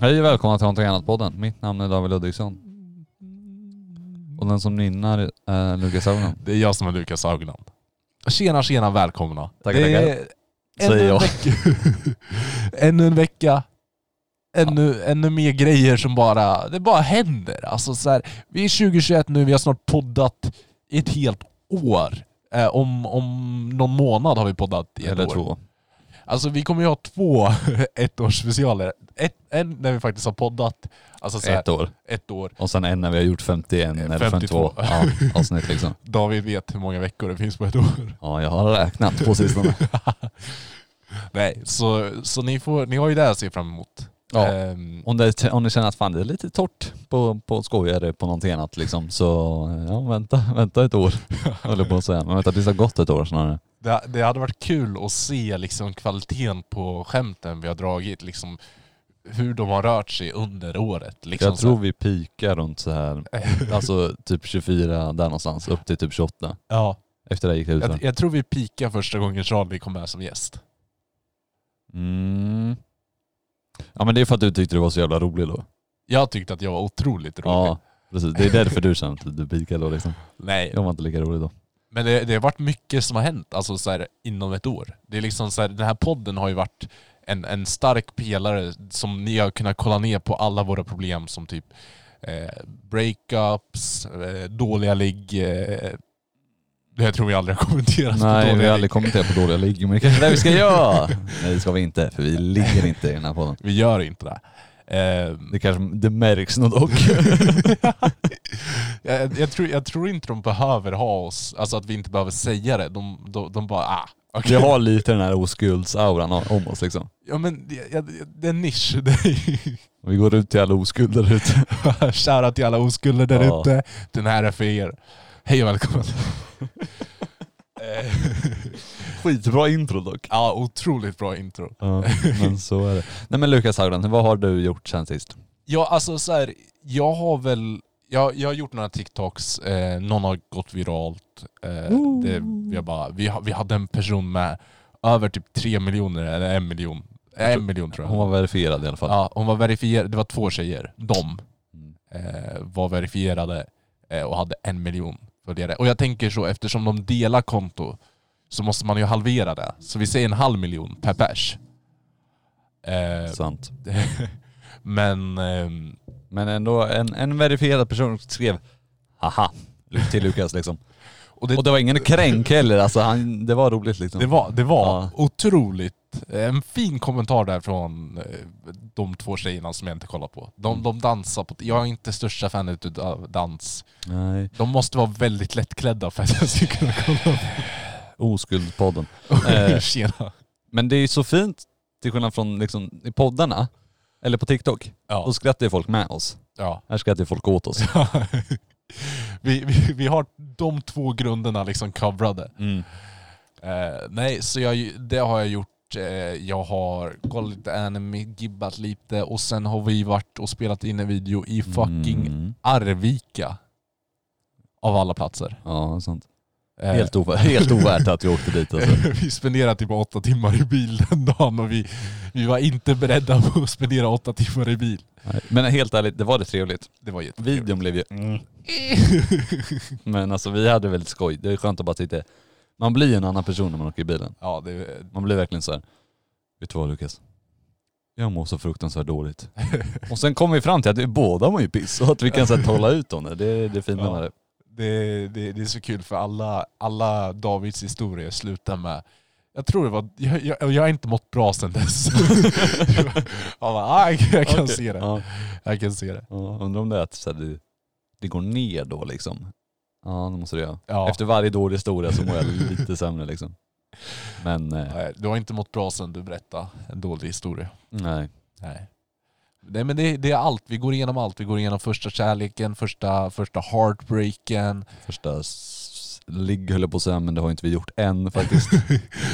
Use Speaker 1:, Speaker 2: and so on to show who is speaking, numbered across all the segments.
Speaker 1: Hej och välkomna till Någonting Annat-podden. Mitt namn är David Ludvigsson. Och den som nynnar är Lukas Aunan.
Speaker 2: Det är jag som är Lukas Haugland. Tjena tjena välkomna.
Speaker 1: Tackar,
Speaker 2: det är
Speaker 3: Säger
Speaker 2: ännu, en
Speaker 3: jag.
Speaker 2: vecka, ännu en vecka. Ännu, ännu mer grejer som bara, det bara händer. Alltså så här, vi är 2021 nu, vi har snart poddat i ett helt år. Eh, om, om någon månad har vi poddat i ett
Speaker 1: Eller
Speaker 2: år.
Speaker 1: två.
Speaker 2: Alltså vi kommer ju ha två ettårsspecialer. Ett, en när vi faktiskt har poddat, alltså så här,
Speaker 1: Ett år.
Speaker 2: ett år.
Speaker 1: Och sen en när vi har gjort 51
Speaker 2: Eh,
Speaker 1: eller 52
Speaker 2: 52.
Speaker 1: ja, avsnitt liksom.
Speaker 2: David vet hur många veckor det finns på ett år.
Speaker 1: Ja, jag har räknat på sistone.
Speaker 2: Nej, så, så ni, får, ni har ju det här att se fram emot.
Speaker 1: Ja.
Speaker 2: Ehm,
Speaker 1: Eh, Om, det, om ni känner att fan det är lite torrt på, på skojare på någonting annat liksom så ja, vänta, vänta ett år. Håller på att säga. Men vänta tills det har gått ett år snarare.
Speaker 2: det, det hade varit kul att se liksom kvaliteten på skämten vi har dragit. Liksom, hur de har rört sig under året. Liksom,
Speaker 1: Jag tror vi pikar runt så här, alltså typ 24 där någonstans upp till typ 28.
Speaker 2: ja,
Speaker 1: Efter det gick det ut.
Speaker 2: jag, jag tror vi pikar första gången Charlie kom med som gäst.
Speaker 1: Mm. Ja men det är för att du tyckte du var så jävla rolig då.
Speaker 2: Jag tyckte att jag var otroligt rolig.
Speaker 1: Ja precis, det är därför du känner att du pikade då liksom.
Speaker 2: Nej,
Speaker 1: Jag var inte lika rolig då.
Speaker 2: Men det, det har varit mycket som har hänt alltså så här, inom ett år. Det är liksom så här, den här podden har ju varit en, en stark pelare som ni har kunnat kolla ner på alla våra problem som typ eh, breakups, eh, dåliga ligg. Eh, det här tror vi aldrig har kommenterat. på
Speaker 1: Nej
Speaker 2: dåliga
Speaker 1: vi har
Speaker 2: ligg.
Speaker 1: aldrig kommenterat på dåliga ligg men Alltså, det kanske är det vi ska göra. Nej det ska vi inte för vi ligger inte i den här podden.
Speaker 2: Vi gör inte det. Eh,
Speaker 1: Det kanske, det märks nog dock.
Speaker 2: jag, jag, tror, jag tror inte de behöver ha oss, alltså att vi inte behöver säga det. De, de, de bara ah.
Speaker 1: Vi
Speaker 2: okej.
Speaker 1: har lite den här oskuldsauran om oss liksom.
Speaker 2: Ja men det, jag- det- det är en nisch. Det är,
Speaker 1: Vi går ut till alla oskulder där ute.
Speaker 2: Shoutout till alla oskulder där
Speaker 1: Ja.
Speaker 2: ute. Den här är för er. Hej och välkommen. Eh,
Speaker 1: Skitbra intro dock.
Speaker 2: ja, otroligt bra intro.
Speaker 1: Ja, men så är det. Nej men Lukas Haugland, vad har du gjort sen sist?
Speaker 2: Ja, alltså så här, jag har väl... Jag, jag har gjort några TikToks, eh, någon har gått viralt. Eh, det, vi, har bara, vi, har- vi hade en person med över typ tre miljoner, eller en miljon. Eh, En miljon tror jag.
Speaker 1: Hon var verifierad i alla fall.
Speaker 2: Ja, hon var verifierad. Det var två tjejer. De
Speaker 1: Mm.
Speaker 2: eh, var verifierade eh, och hade en miljon följare. Och jag tänker så, eftersom de delar konto så måste man ju halvera det. Så vi säger en halv miljon per pers. Eh,
Speaker 1: Sant.
Speaker 2: men ehm,
Speaker 1: Men ändå, en, en verifierad person skrev haha till Lukas liksom.
Speaker 2: och det,
Speaker 1: Och det var ingen kränk heller, alltså han, det var roligt liksom.
Speaker 2: det var, det var
Speaker 1: Ja.
Speaker 2: otroligt. eh, En fin kommentar där från eh, de två tjejerna som jag inte kollar på. De,
Speaker 1: Mm.
Speaker 2: de dansar på... Jag är inte största fanet utav dans.
Speaker 1: Nej.
Speaker 2: De måste vara väldigt lättklädda för att jag ska kunna kolla
Speaker 1: Oskuldspodden. Eh.
Speaker 2: på. Tjena.
Speaker 1: Men det är ju så fint, till skillnad från liksom, i poddarna, eller på TikTok,
Speaker 2: Ja.
Speaker 1: då skrattar ju folk med oss.
Speaker 2: ja.
Speaker 1: Här skrattar ju folk åt oss.
Speaker 2: vi, vi, vi har de två grunderna liksom coverade.
Speaker 1: Mm.
Speaker 2: Eh, nej, så jag, det har jag gjort. Eh, jag har kollat lite anime, gibbat lite och sen har vi varit och spelat in en video i fucking
Speaker 1: Mm.
Speaker 2: Arvika. Av alla platser.
Speaker 1: Ja, sant.
Speaker 2: Eh,
Speaker 1: Helt, ovä- helt ovärt att vi åkte dit alltså.
Speaker 2: vi spenderade typ åtta timmar i bil den dagen och vi, vi var inte beredda på att spendera åtta timmar i bil.
Speaker 1: Nej. Men helt ärligt, det var det trevligt.
Speaker 2: Det var jättetrevligt.
Speaker 1: Videon blev ju...
Speaker 2: Mm.
Speaker 1: Men alltså vi hade väldigt skoj. Det är skönt att bara titta. Man blir ju en annan person när man åker i bilen.
Speaker 2: Ja, det,
Speaker 1: Man blir verkligen så här. Vet du vad Lukas? Jag mår så fruktansvärt dåligt. och sen kommer vi fram till att vi båda mår ju piss och att vi kan så här, tåla ut om det. Det, det är fint
Speaker 2: Ja.
Speaker 1: med det.
Speaker 2: Det, det, det är så kul för alla, alla Davids historier slutar med jag tror det var, jag, jag, jag har inte mått bra sedan dess. jag, bara, ah, jag, jag kan
Speaker 1: Okej.
Speaker 2: se det.
Speaker 1: Ja,
Speaker 2: Jag kan se det.
Speaker 1: ja. Undrar om det är att så här, det, det går ner då liksom. Ja det måste det göra.
Speaker 2: Ja.
Speaker 1: Efter varje dålig historia så mår jag lite sämre liksom. Men eh,
Speaker 2: Nej, Du har inte mått bra sedan du berättade en dålig historia.
Speaker 1: nej.
Speaker 2: Nej. Nej men det, det är allt, vi går igenom allt. Vi går igenom första kärleken, första, första heartbreaken.
Speaker 1: Första s- ligg höll jag på att säga men det har inte vi gjort än faktiskt.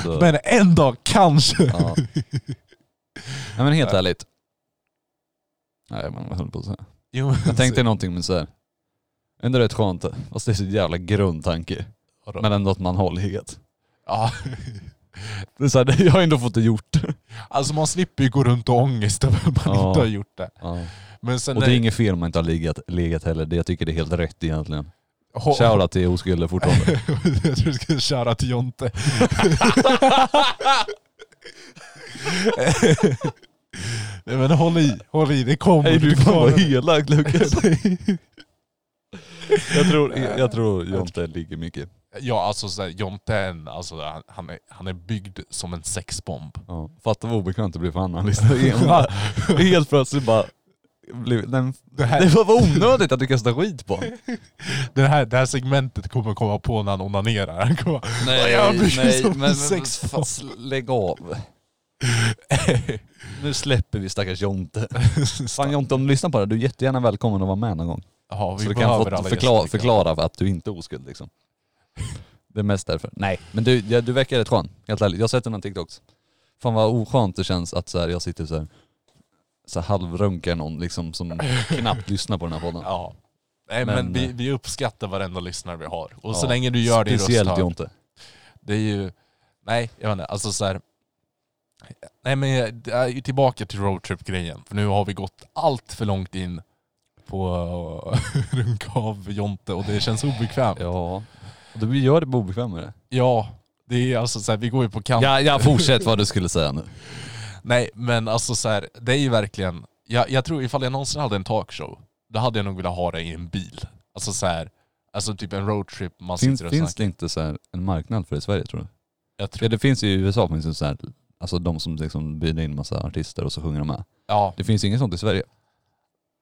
Speaker 1: Så,
Speaker 2: Men en dag kanske.
Speaker 1: ja. Nej men helt ärligt. Nej men vad höll jag på att säga?
Speaker 2: Jo, men-
Speaker 1: Jag tänkte någonting men såhär. Ändå rätt skönt. Fast det är så jävla grundtanke.
Speaker 2: Vadå?
Speaker 1: Men ändå att man har legat.
Speaker 2: Ja.
Speaker 1: Det är så här, jag har ändå fått det gjort.
Speaker 2: Alltså man slipper ju gå runt och ha ångest över att man
Speaker 1: Ja.
Speaker 2: inte har gjort det. Men sen
Speaker 1: Och det
Speaker 2: när-
Speaker 1: är inget fel om man inte har legat, legat heller. Det, jag tycker det är helt rätt egentligen.
Speaker 2: Ho-
Speaker 1: Shoutout till oskulder fortfarande.
Speaker 2: jag tror du skulle köra till Jonte. Nej men håll i, håll i, det kommer.
Speaker 1: Nej du
Speaker 2: det
Speaker 1: fan
Speaker 2: kommer.
Speaker 1: vad elakt Lukas. jag tror, jag tror Jonte ligger mycket.
Speaker 2: Ja alltså så här, Jonte är en, alltså, han, han, är, han är byggd som en sexbomb.
Speaker 1: Ja. Fatta vad obekvämt det blir för han när han lyssnar igenom. Bara- Helt plötsligt bara... blev- Den,
Speaker 2: Det här,
Speaker 1: det var vad onödigt att du kastade skit på honom.
Speaker 2: det, här, det här segmentet kommer komma på när han onanerar. Han kommer,
Speaker 1: Nej,
Speaker 2: jag blir som en sexbomb.
Speaker 1: fan, sl- lägg av. nu släpper vi stackars Jonte. Fan Jonte, om du lyssnar på det, här, du är jättegärna välkommen att vara med någon gång.
Speaker 2: ja, vi
Speaker 1: Så du
Speaker 2: behöver
Speaker 1: kan
Speaker 2: alla
Speaker 1: få förklara,
Speaker 2: gäster. liksom.
Speaker 1: förklara att du inte är oskuld liksom. Det är mest därför. Nej, men du, ja, du verkar rätt skön. Helt ärligt. Jag har sett dina TikToks. Fan vad oskönt det känns att så här, jag sitter så här, så här halvrunkar någon liksom som knappt lyssnar på den här podden.
Speaker 2: Ja. Nej men,
Speaker 1: Men,
Speaker 2: vi,
Speaker 1: eh,
Speaker 2: vi uppskattar varenda lyssnare vi har. Och så
Speaker 1: Ja.
Speaker 2: länge du gör din röst
Speaker 1: Speciellt
Speaker 2: hörd.
Speaker 1: Jonte.
Speaker 2: Det är ju, nej jag vet inte, alltså så här. Nej men jag- det är ju tillbaka till roadtrip-grejen. För nu har vi gått allt för långt in på eh, runka av Jonte och det känns obekvämt. Ja,
Speaker 1: Ja. Och det gör det obekvämare.
Speaker 2: det är alltså så här, vi går ju på kant.
Speaker 1: Ja, ja, fortsätt vad du skulle säga nu.
Speaker 2: Nej men alltså så här, det är ju verkligen, jag, jag tror ifall jag någonsin hade en talkshow, då hade jag nog velat ha det i en bil. Alltså så här, alltså typ en roadtrip, man
Speaker 1: Finns,
Speaker 2: sitter och snackar.
Speaker 1: finns det inte så här en marknad för det i Sverige tror du?
Speaker 2: Jag tror,
Speaker 1: Ja, det finns ju i USA finns det så här, alltså de som liksom bjuder in massa artister och så sjunger de med.
Speaker 2: ja,
Speaker 1: Det finns ju inget sånt i Sverige.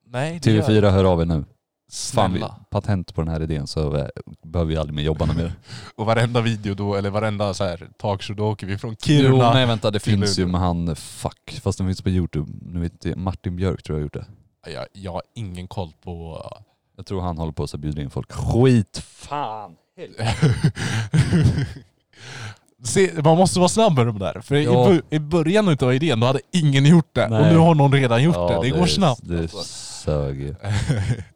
Speaker 2: nej det gör-
Speaker 1: TV4 hör av er nu. Fan, vi,
Speaker 2: Snälla.
Speaker 1: patent på den här idén så eh, behöver vi aldrig mer jobba med mer.
Speaker 2: Och varenda video då, eller varenda så här talkshow, då åker vi från
Speaker 1: Jo,
Speaker 2: Kiruna.
Speaker 1: nej vänta det
Speaker 2: Kiruna.
Speaker 1: finns ju med han, fuck, fast den finns på youtube. Nu vet jag, Martin Björk tror jag har gjort det.
Speaker 2: jag, jag har ingen koll på...
Speaker 1: Jag tror han håller på att bjuda in folk. Skit fan.
Speaker 2: Se, man måste vara snabb med de där. För i,
Speaker 1: Ja.
Speaker 2: bu- i början utav idén, då hade ingen gjort det. Och
Speaker 1: Nej.
Speaker 2: nu har någon redan gjort det. Det går snabbt.
Speaker 1: Det
Speaker 2: alltså.
Speaker 1: sög ju.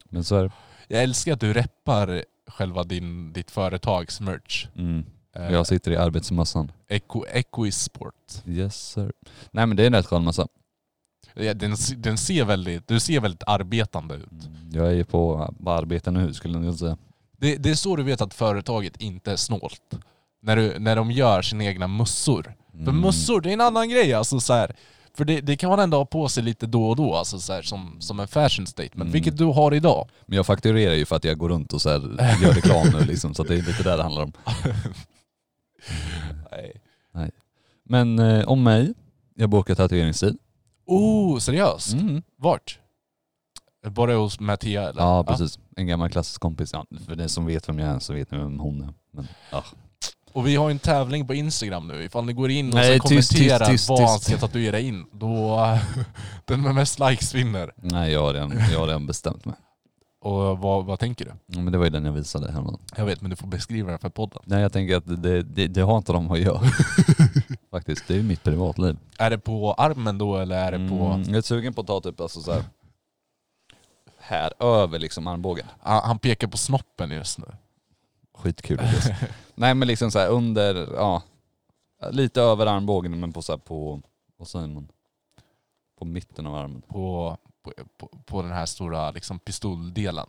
Speaker 1: Men så är det.
Speaker 2: Jag älskar att du reppar själva din, ditt företags merch.
Speaker 1: Mm.
Speaker 2: Eh,
Speaker 1: Jag sitter i arbetsmassan.
Speaker 2: Equ- Equisport.
Speaker 1: Yes sir. Nej men det är en rätt skön massa.
Speaker 2: Ja, Den, se- den ser väldigt, du ser väldigt arbetande ut.
Speaker 1: Mm. Jag är ju på, på arbete nu skulle jag säga.
Speaker 2: Det, det är så du vet att företaget inte är snålt. När, du, när de gör sina egna mössor. För
Speaker 1: Mm.
Speaker 2: mössor, det är en annan grej alltså så här. För det, det kan man ändå ha på sig lite då och då, alltså så här, som, som en fashion statement.
Speaker 1: Mm.
Speaker 2: Vilket du har idag.
Speaker 1: Men jag fakturerar ju för att jag går runt och så här, gör reklam nu liksom. Så att det är lite där det handlar om.
Speaker 2: Nej.
Speaker 1: Men eh, om mig, jag bokar tatueringstid.
Speaker 2: Oh, seriöst?
Speaker 1: Mm.
Speaker 2: Vart? Bara hos Mattia eller?
Speaker 1: Ja precis, en gammal klassisk kompis. Ja, för den som vet vem jag är så vet ni vem hon är. Men, ja.
Speaker 2: Och vi har en tävling på Instagram nu. Ifall ni går in och
Speaker 1: Nej,
Speaker 2: så
Speaker 1: tyst, tyst,
Speaker 2: kommenterar
Speaker 1: tyst,
Speaker 2: vad han
Speaker 1: tyst.
Speaker 2: ska tatuera in, då... den med mest likes vinner.
Speaker 1: Nej jag har redan, jag har redan bestämt mig.
Speaker 2: Och vad, vad tänker du?
Speaker 1: Ja, Men det var ju den jag visade häromdagen.
Speaker 2: Jag vet, men du får beskriva den för podden.
Speaker 1: Nej jag tänker att det, det, det har inte de att göra. Faktiskt, det är ju mitt privatliv.
Speaker 2: Är det på armen då eller är det på...
Speaker 1: Mm, jag är sugen på att ta typ alltså så här, här över liksom armbågen.
Speaker 2: Han, Ah, han pekar på snoppen just nu.
Speaker 1: Skitkul. Lukas. Nej men liksom så här under, ja. Lite över armbågen men på så här på, vad säger man? På mitten av armen.
Speaker 2: På, på, på, på den här stora liksom, pistoldelen.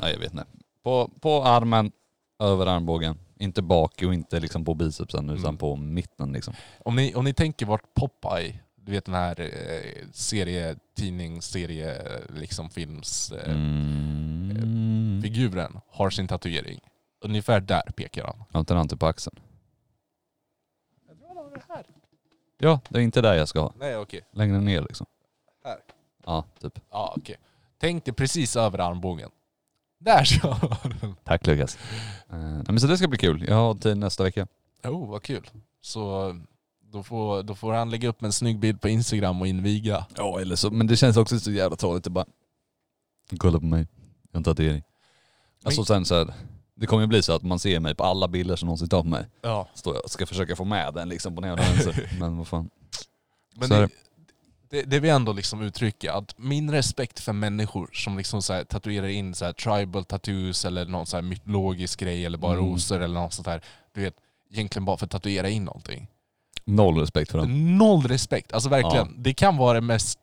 Speaker 1: Nej jag vet inte. På, på armen, över armbågen. Inte bak och inte liksom på bicepsen utan
Speaker 2: Mm.
Speaker 1: på mitten liksom.
Speaker 2: Om ni, om ni tänker vart Popeye, du vet den här eh, serie, tidning, serie, liksom films, eh,
Speaker 1: Mm.
Speaker 2: figuren har sin tatuering. Ungefär där pekar han.
Speaker 1: Jag tar han typ på axeln. Ja, det är inte där jag ska ha.
Speaker 2: Nej okej.
Speaker 1: Längre ner liksom.
Speaker 2: Här.
Speaker 1: Ja, typ.
Speaker 2: Ja, okej. Tänk dig precis över armbågen. Där ska jag ha den.
Speaker 1: Tack Lukas. Eh, nej, men så det ska bli kul. Jag har tid nästa vecka.
Speaker 2: Oh, vad kul. Så då får, då får han lägga upp en snygg bild på Instagram och inviga.
Speaker 1: Ja eller så, men det känns också så jävla tråkigt att bara... Kolla på mig, jag har en tatuering. Alltså sen så här, det kommer ju bli så att man ser mig på alla bilder som någonsin tar på mig.
Speaker 2: Ja.
Speaker 1: Står jag och ska försöka få med den liksom på den jävla vänster. Men vad fan.
Speaker 2: Men
Speaker 1: Så är
Speaker 2: det,
Speaker 1: det.
Speaker 2: det, det vill jag ändå liksom uttrycka, att min respekt för människor som liksom så här tatuerar in så här tribal tattoos eller någon så här mytologisk grej eller bara
Speaker 1: Mm.
Speaker 2: rosor eller något sånt här. Du vet, egentligen bara för att tatuera in någonting.
Speaker 1: Noll respekt för
Speaker 2: Mm.
Speaker 1: dem.
Speaker 2: Noll respekt, alltså verkligen.
Speaker 1: Ja.
Speaker 2: Det kan vara det mest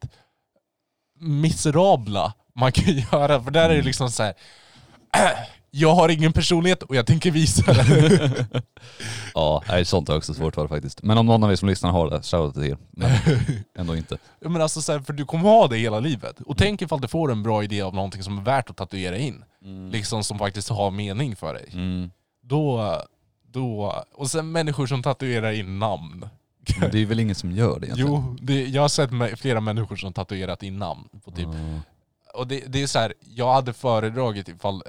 Speaker 2: miserabla man kan göra, för där är det
Speaker 1: Mm.
Speaker 2: liksom så här. "Äh, Jag har ingen personlighet och jag tänker visa det.
Speaker 1: Ja, nej, sånt har jag också svårt för faktiskt. Men om någon av er som lyssnar har det, shoutout till er. Men ändå inte.
Speaker 2: Ja, Men alltså så här, för du kommer ha det hela livet.
Speaker 1: Mm.
Speaker 2: Och tänk ifall du får en bra idé av någonting som är värt att tatuera in. Liksom som faktiskt har mening för dig.
Speaker 1: Mm.
Speaker 2: Då, då... Och sen människor som tatuerar in namn.
Speaker 1: Men det är väl ingen som gör det egentligen?
Speaker 2: Jo, det, jag har sett mig- flera människor som tatuerat in namn. På typ.
Speaker 1: Ja.
Speaker 2: Och det, det är så här, jag hade föredragit ifall...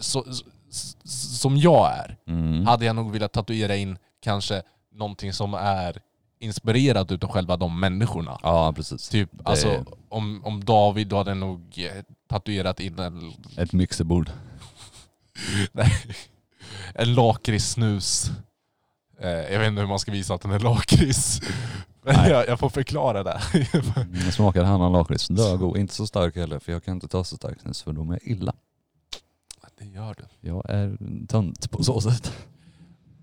Speaker 2: Så, så, s- som jag är,
Speaker 1: Mm.
Speaker 2: hade jag nog velat tatuera in kanske någonting som är inspirerat utav själva de människorna.
Speaker 1: Ja, precis.
Speaker 2: Typ,
Speaker 1: Det-
Speaker 2: alltså om, om David, då hade jag nog eh, tatuerat in en,
Speaker 1: Ett mixerbord.
Speaker 2: nej, en lakritssnus. Eh, jag vet inte hur man ska visa att den är lakrits. Men
Speaker 1: Nej.
Speaker 2: jag, jag får förklara det.
Speaker 1: Mm, Smakar hannan lakrits? Lögo. Inte så stark heller, för jag kan inte ta så stark snus för då mår jag illa.
Speaker 2: det gör du.
Speaker 1: Jag är en tönt på så sätt.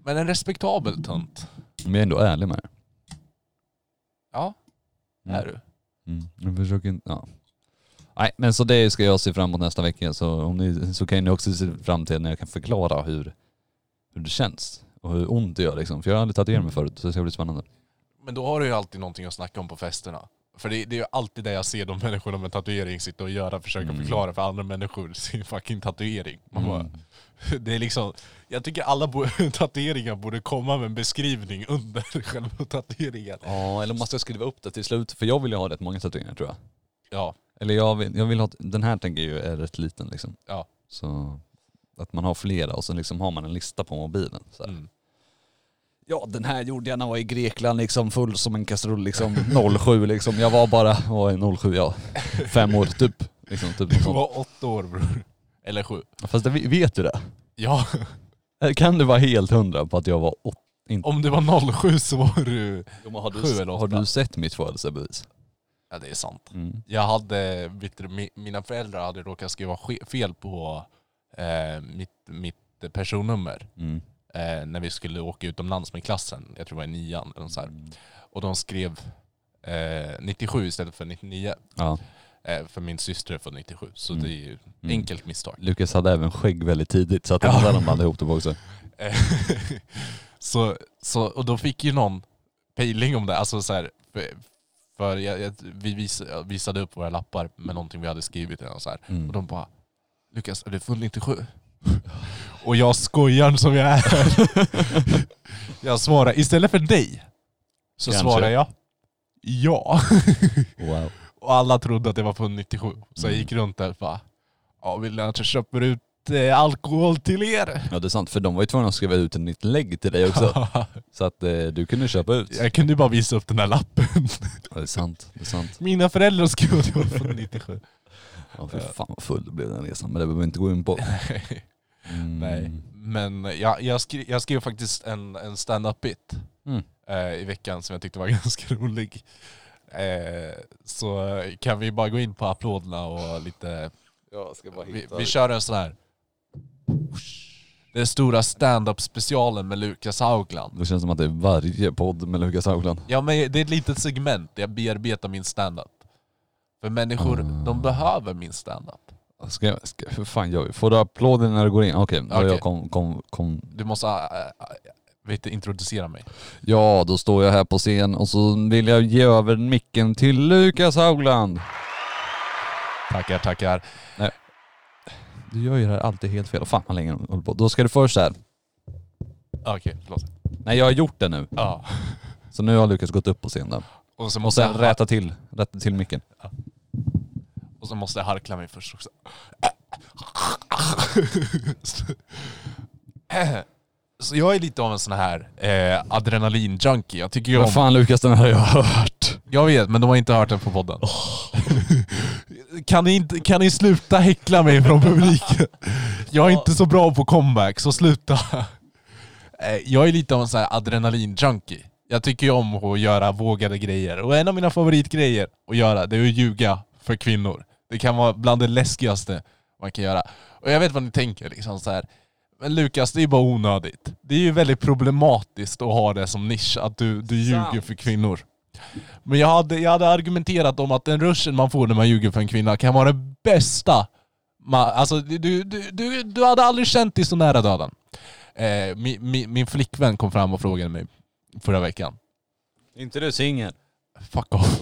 Speaker 2: Men en respektabel tönt.
Speaker 1: Men jag är ändå ärlig med det.
Speaker 2: Ja,
Speaker 1: Mm.
Speaker 2: är du.
Speaker 1: Mm. Jag försöker inte, ja. Nej men så det ska jag se fram emot nästa vecka. Så, om ni, så kan ni också se fram till när jag kan förklara hur, hur det känns. Och hur ont det gör liksom. För jag har aldrig tatuerat mig förut så det ska bli spännande.
Speaker 2: Men då har du ju alltid någonting att snacka om på festerna. För det, det är ju alltid det jag ser de människorna med tatuering sitta och göra, försöka
Speaker 1: Mm.
Speaker 2: förklara för andra människor sin fucking tatuering. Man bara,
Speaker 1: Mm.
Speaker 2: Det är liksom, jag tycker alla bo- tatueringar borde komma med en beskrivning under själva tatueringen.
Speaker 1: Ja eller måste jag skriva upp det till slut? För jag vill ju ha rätt många tatueringar tror jag.
Speaker 2: Ja,
Speaker 1: Eller jag vill, jag vill ha, den här tänker jag ju är rätt liten liksom.
Speaker 2: Ja.
Speaker 1: Så att man har flera och sen liksom har man en lista på mobilen. Så här.
Speaker 2: mm.
Speaker 1: Ja den här gjorde jag när jag var i Grekland liksom full som en kastrull liksom 07 liksom. Jag var bara, vad är 07 ja, fem år typ. Liksom, typ något
Speaker 2: Du
Speaker 1: sånt.
Speaker 2: var åtta år bror. Eller sju.
Speaker 1: Fast det, vet du det?
Speaker 2: Ja,
Speaker 1: Eh, Kan du vara helt hundra på att jag var åtta?
Speaker 2: om du var 07 så var du...
Speaker 1: Har
Speaker 2: du-
Speaker 1: har du sett mitt födelsebevis?
Speaker 2: Ja det är sant.
Speaker 1: Mm.
Speaker 2: Jag hade, vet du, mi- mina föräldrar hade råkat skriva ske- fel på eh, mitt, mitt personnummer.
Speaker 1: Mm.
Speaker 2: Eh, när vi skulle åka utomlands med klassen, jag tror det var i nian eller något så här. Och de skrev eh, 97 istället för 99.
Speaker 1: Ja.
Speaker 2: Eh, för min syster är född 97, så
Speaker 1: Mm.
Speaker 2: det är ju
Speaker 1: Mm.
Speaker 2: enkelt misstag.
Speaker 1: Lukas hade även skägg väldigt tidigt så att det var där de blandade ihop det på också.
Speaker 2: Eh, så, så, och då fick ju någon pejling om det. Alltså så här, för, för jag, jag, vi vis, jag visade upp våra lappar med någonting vi hade skrivit. Och, så här.
Speaker 1: Mm.
Speaker 2: och de bara Lukas, är du full 97? och jag skojar som jag är. jag svarar, istället för dig så
Speaker 1: Kanske.
Speaker 2: svarar jag ja.
Speaker 1: Wow.
Speaker 2: Och alla trodde att det var på 97. Så jag
Speaker 1: Mm.
Speaker 2: gick runt där och bara, ja vill ni att jag köper ut eh, alkohol till er?
Speaker 1: Ja det är sant, för de var ju tvungna att skriva ut ett nytt lägg till dig också. så att eh, du kunde köpa ut.
Speaker 2: jag kunde ju bara visa upp den där lappen.
Speaker 1: Ja, det är sant, det är sant.
Speaker 2: Mina föräldrar skrev att jag var från 97.
Speaker 1: Ja fy fan vad full det blev den resan, men det behöver vi inte gå in på. Mm.
Speaker 2: Nej. Men jag, jag, skrev, jag skrev faktiskt en, en stand-up bit
Speaker 1: Mm.
Speaker 2: eh, i veckan som jag tyckte var ganska rolig. Eh, så kan vi bara gå in på applåderna och lite
Speaker 1: Jag ska bara
Speaker 2: Vi, vi kör en sån här. Den stora stand-up specialen med Lukas Haugland.
Speaker 1: Det känns som att det är varje podd med Lukas Haugland.
Speaker 2: Ja men det är ett litet segment där jag bearbetar min stand-up. För människor,
Speaker 1: Ah.
Speaker 2: de behöver min stand-up.
Speaker 1: Ska jag, ska, hur fan gör vi? Får du applåder när du går in? Okej, då
Speaker 2: Okej.
Speaker 1: jag kom, kom, kom.
Speaker 2: Du måste, äh, äh, vet du, introducera mig.
Speaker 1: Ja, då står jag här på scen och så vill jag ge över micken till Lukas Haugland.
Speaker 2: Tackar, tackar.
Speaker 1: Du gör ju det här alltid helt fel. Fan vad länge de håller på. Då ska du först så här.
Speaker 2: Okej, förlåt. Ah.
Speaker 1: Nej, jag har gjort det nu.
Speaker 2: Ja.
Speaker 1: Så nu har Lukas gått upp på scen där.
Speaker 2: Och så
Speaker 1: Och
Speaker 2: måste,
Speaker 1: sen
Speaker 2: jag,
Speaker 1: räta till, rätta till micken.
Speaker 2: och så måste jag harkla mig först också. Så jag är lite av en sån här eh, adrenalin-junkie. Jag tycker ju om
Speaker 1: Vad fan Lukas, den här har jag hört.
Speaker 2: Jag vet, men de har inte hört den på podden. kan, ni inte, kan ni sluta häckla mig från publiken? Jag är inte så bra på comeback, så sluta. Eh, Jag är lite av en sån här adrenalin-junkie. Jag tycker ju om att göra vågade grejer. Och en av mina favoritgrejer att göra, det är att ljuga för kvinnor. Det kan vara bland det läskigaste man kan göra. Och jag vet vad ni tänker liksom så här. Men Lukas, det är ju bara onödigt. Det är ju väldigt problematiskt att ha det som nisch, att du, du ljuger
Speaker 1: Sant.
Speaker 2: för kvinnor. Men jag hade, jag hade argumenterat om att den ruschen man får när man ljuger för en kvinna kan vara det bästa. Man, alltså du, du, du, du hade aldrig känt dig så nära döden. Eh, min, min, min flickvän kom fram och frågade mig förra veckan.
Speaker 1: Inte du singel?
Speaker 2: Fuck off.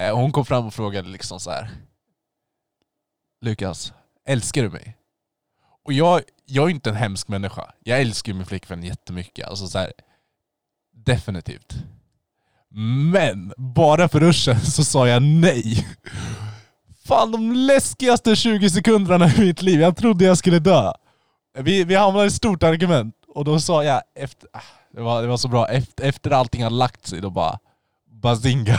Speaker 2: Eh, hon kom fram och frågade liksom så här. Lukas, älskar du mig? Och jag, jag är ju inte en hemsk människa. Jag älskar ju min flickvän jättemycket. Alltså så här, definitivt. Men bara för ruschen så sa jag nej. Fan de läskigaste 20 sekunderna i mitt liv. Jag trodde jag skulle dö. Vi, vi hamnade i ett stort argument och då sa jag efter... ah, Det var, det var så bra. Efter, efter allting har lagt sig då bara... Bazinga.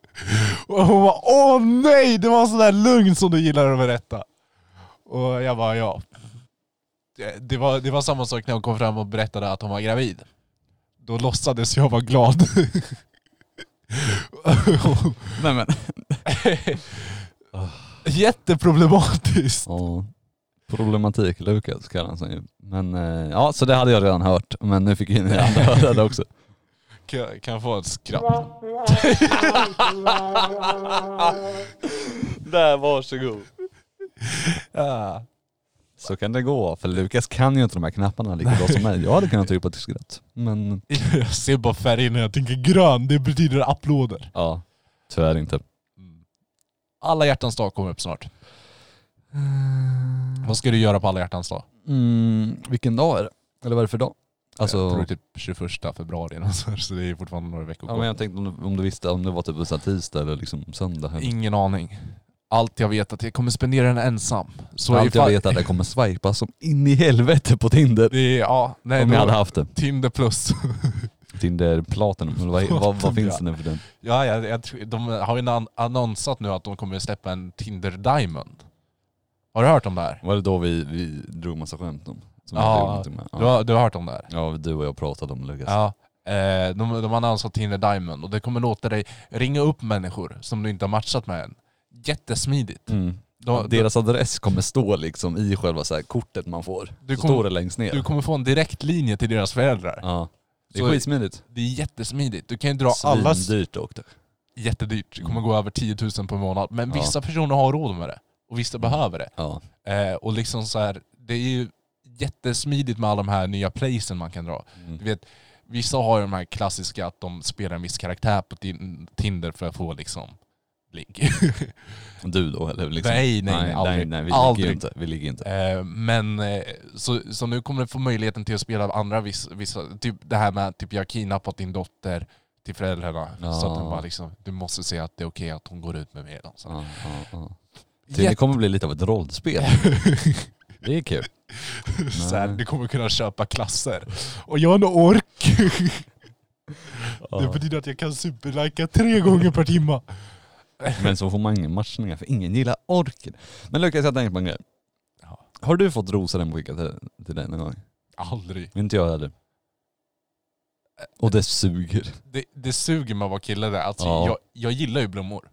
Speaker 2: och hon bara åh nej! Det var sån där lugn som du gillar att berätta. Och jag bara ja. Det- Det var, det var samma sak när hon kom fram och berättade att hon var gravid. Då låtsades jag vara glad.
Speaker 1: Men men.
Speaker 2: Jätteproblematiskt.
Speaker 1: Ja. Problematik Lukas kallar han sig ju. Men eh, ja, så det hade jag redan hört. Men nu fick ju ni alla höra det också.
Speaker 2: Kan, jag- kan jag få ett skratt?
Speaker 1: Där, varsågod.
Speaker 2: Ah.
Speaker 1: Så kan det gå, för Lukas kan ju inte de här knapparna lika bra som mig. Jag hade kunnat trycka på ett skratt. Men
Speaker 2: Jag ser bara färgen när jag tänker grön, det betyder applåder.
Speaker 1: ja, tyvärr inte.
Speaker 2: Alla hjärtans dag kommer upp snart. Vad ska du göra på alla hjärtans dag?
Speaker 1: Mm, vilken dag är det? Eller vad är det för dag?
Speaker 2: Jag tror
Speaker 1: Alltså,
Speaker 2: det är typ 21 februari eller så, här, så det är fortfarande några veckor
Speaker 1: ja,
Speaker 2: kvar.
Speaker 1: men jag tänkte om du, om du visste om det var typ så här tisdag eller liksom söndag. Eller.
Speaker 2: Ingen aning. Allt jag vet är att jag kommer spendera den ensam. Så
Speaker 1: Allt jag vet är att jag kommer swipa som in i helvete på Tinder.
Speaker 2: Det är, ja, nej,
Speaker 1: Om
Speaker 2: det
Speaker 1: jag
Speaker 2: var
Speaker 1: hade haft det.
Speaker 2: Tinder plus.
Speaker 1: Tinder Platinum, eller vad, vad, vad
Speaker 2: Platinum,
Speaker 1: finns
Speaker 2: ja.
Speaker 1: det nu för den?
Speaker 2: ja, jag, jag, tror- de har ju annon- annonsat nu att de kommer släppa en Tinder Diamond. Har du hört om det här?
Speaker 1: Var det då vi, vi drog massa skämt om? Som
Speaker 2: Ja,
Speaker 1: jag drog någonting med.
Speaker 2: Du,
Speaker 1: Ja.
Speaker 2: har, du har hört om det här?
Speaker 1: ja, du och jag pratade om Lukas.
Speaker 2: Ja. Eh, de, de har annonsat Tinder Diamond och det kommer låta dig ringa upp människor som du inte har matchat med än. Jättesmidigt.
Speaker 1: Mm.
Speaker 2: De, de,
Speaker 1: Deras adress kommer stå liksom i själva så här kortet man får.
Speaker 2: Du
Speaker 1: så
Speaker 2: kommer-
Speaker 1: står det längst ner.
Speaker 2: du kommer få en direktlinje till deras föräldrar.
Speaker 1: ja. Det är
Speaker 2: Så-
Speaker 1: skitsmidigt.
Speaker 2: Det är jättesmidigt. Du kan ju dra allas...
Speaker 1: Svindyrt dock. det.
Speaker 2: Jättedyrt. Det kommer gå över 10 000 på en månad. Men
Speaker 1: Ja.
Speaker 2: vissa personer har råd med det. Och vissa behöver det.
Speaker 1: Ja.
Speaker 2: Eh, och liksom så här, det är ju jättesmidigt med alla de här nya placen man kan dra.
Speaker 1: Mm.
Speaker 2: Du vet, vissa har ju de här klassiska att de spelar en viss karaktär på tin- Tinder för att få liksom ligg.
Speaker 1: Du då eller liksom?
Speaker 2: Nej, nej,
Speaker 1: nej,
Speaker 2: aldrig.
Speaker 1: nej, nej vi
Speaker 2: Aldrig.
Speaker 1: ligger ju inte. Vi ligger inte.
Speaker 2: Eh, men eh, så, så nu kommer du få möjligheten till att spela andra vissa, vissa typ det här med typ jag har kidnappat din dotter till föräldrarna. Så att de
Speaker 1: Ja.
Speaker 2: bara liksom, du måste säga att det är okej att hon går ut med mig. idag. Så.
Speaker 1: Ja, ja, ja. Det kommer bli lite av ett rollspel. Det är kul.
Speaker 2: så här, du kommer kunna köpa klasser. Och jag har en ork. Det betyder att jag kan superlika tre gånger per timme.
Speaker 1: Men så får man ingen matchningar för ingen gillar orken. Men Lukas jag tänkte på en grej.
Speaker 2: Ja.
Speaker 1: Har du fått rosor hemskickade till, till dig någon gång?
Speaker 2: Aldrig.
Speaker 1: Inte jag heller. Och det suger.
Speaker 2: Det, det suger med att vara kille där. Alltså,
Speaker 1: Ja.
Speaker 2: jag, jag gillar ju blommor.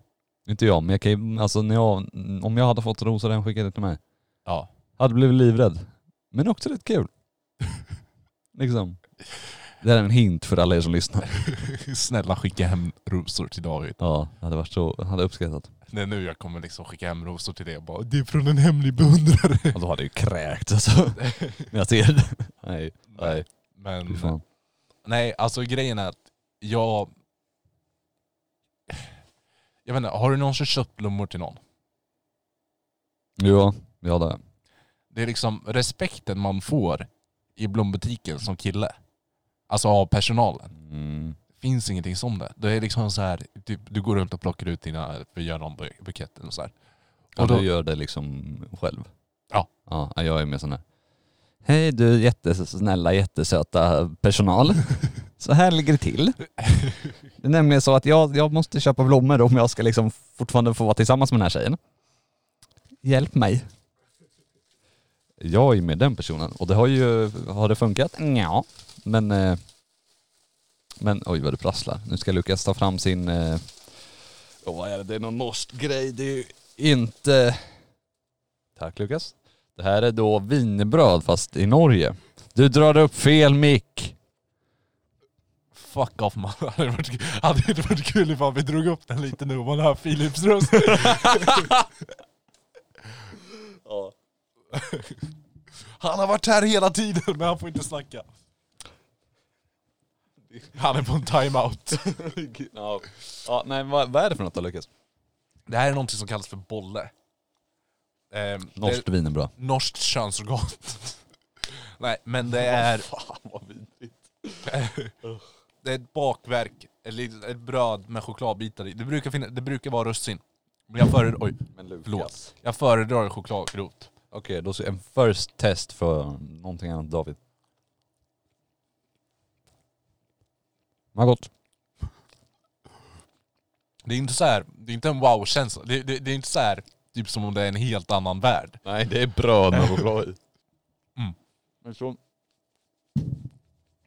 Speaker 1: Inte jag, men jag kan ju, alltså när jag, om jag hade fått rosor hemskickade till mig,
Speaker 2: Ja.
Speaker 1: hade blivit livrädd. Men också rätt kul. liksom. Det här är en hint för alla er som lyssnar.
Speaker 2: Snälla skicka hem rosor till David.
Speaker 1: Ja, det hade varit så, hade uppskattat.
Speaker 2: Det är nu jag kommer liksom skicka hem rosor till dig och bara det är från en hemlig beundrare.
Speaker 1: Och då hade jag ju kräkt alltså. När jag ser det. Nej, nej. Fy
Speaker 2: Men
Speaker 1: fan.
Speaker 2: nej, alltså grejen är att jag... Jag vet inte, har du någonsin köpt blommor till någon?
Speaker 1: Ja, ja det.
Speaker 2: Det är liksom respekten man får i blombutiken som kille. Alltså av personalen.
Speaker 1: Mm.
Speaker 2: finns ingenting som det. Det är liksom så här, typ, du går runt och plockar ut dina, för att göra någon bu- bukett och så här.
Speaker 1: Och
Speaker 2: Och då-
Speaker 1: du gör det liksom själv?
Speaker 2: Ja.
Speaker 1: Ja, jag är med sån här. Hej du jättesnälla, jättesöta personal. Så här ligger det till. Det är nämligen så att jag, jag måste köpa blommor om jag ska liksom fortfarande få vara tillsammans med den här tjejen. Hjälp mig. Jag är med den personen och det har ju, har det funkat? Ja. Men eh, Men oj vad det prasslar. Nu ska Lukas ta fram sin... Eh, åh, vad är det? Det är någon norsk grej. Det är ju inte... Tack Lukas. Det här är då wienerbröd fast i Norge. Du drar upp fel mick.
Speaker 2: Fuck off man. Hade det varit, hade det inte varit kul ifall vi drog upp den lite nu och man hör Philips röst? Han har varit här hela tiden men han får inte snacka. Han är på en timeout.
Speaker 1: ja. nej vad, är det för något då Lukas?
Speaker 2: Det här är någonting som kallas för bolle. Eh,
Speaker 1: Norskt
Speaker 2: Det,
Speaker 1: wienerbröd.
Speaker 2: norskt könsorgan. Nej men det är...
Speaker 1: Fan vad vidrigt.
Speaker 2: det är ett bakverk, ett, litet- ett bröd med chokladbitar i. Det brukar, finna, det brukar vara russin. Men jag föredrar, oj,
Speaker 1: Men Lukas.
Speaker 2: förlåt. Jag föredrar chokladgrot.
Speaker 1: Okej, då ska en first test för någonting annat David. Vad gott.
Speaker 2: Det är inte så här, det är inte en wow-känsla. Det, det, det är inte så här, typ som om det är en helt annan värld.
Speaker 1: Nej, det är bröd med choklad i.
Speaker 2: Mm.
Speaker 1: Men så...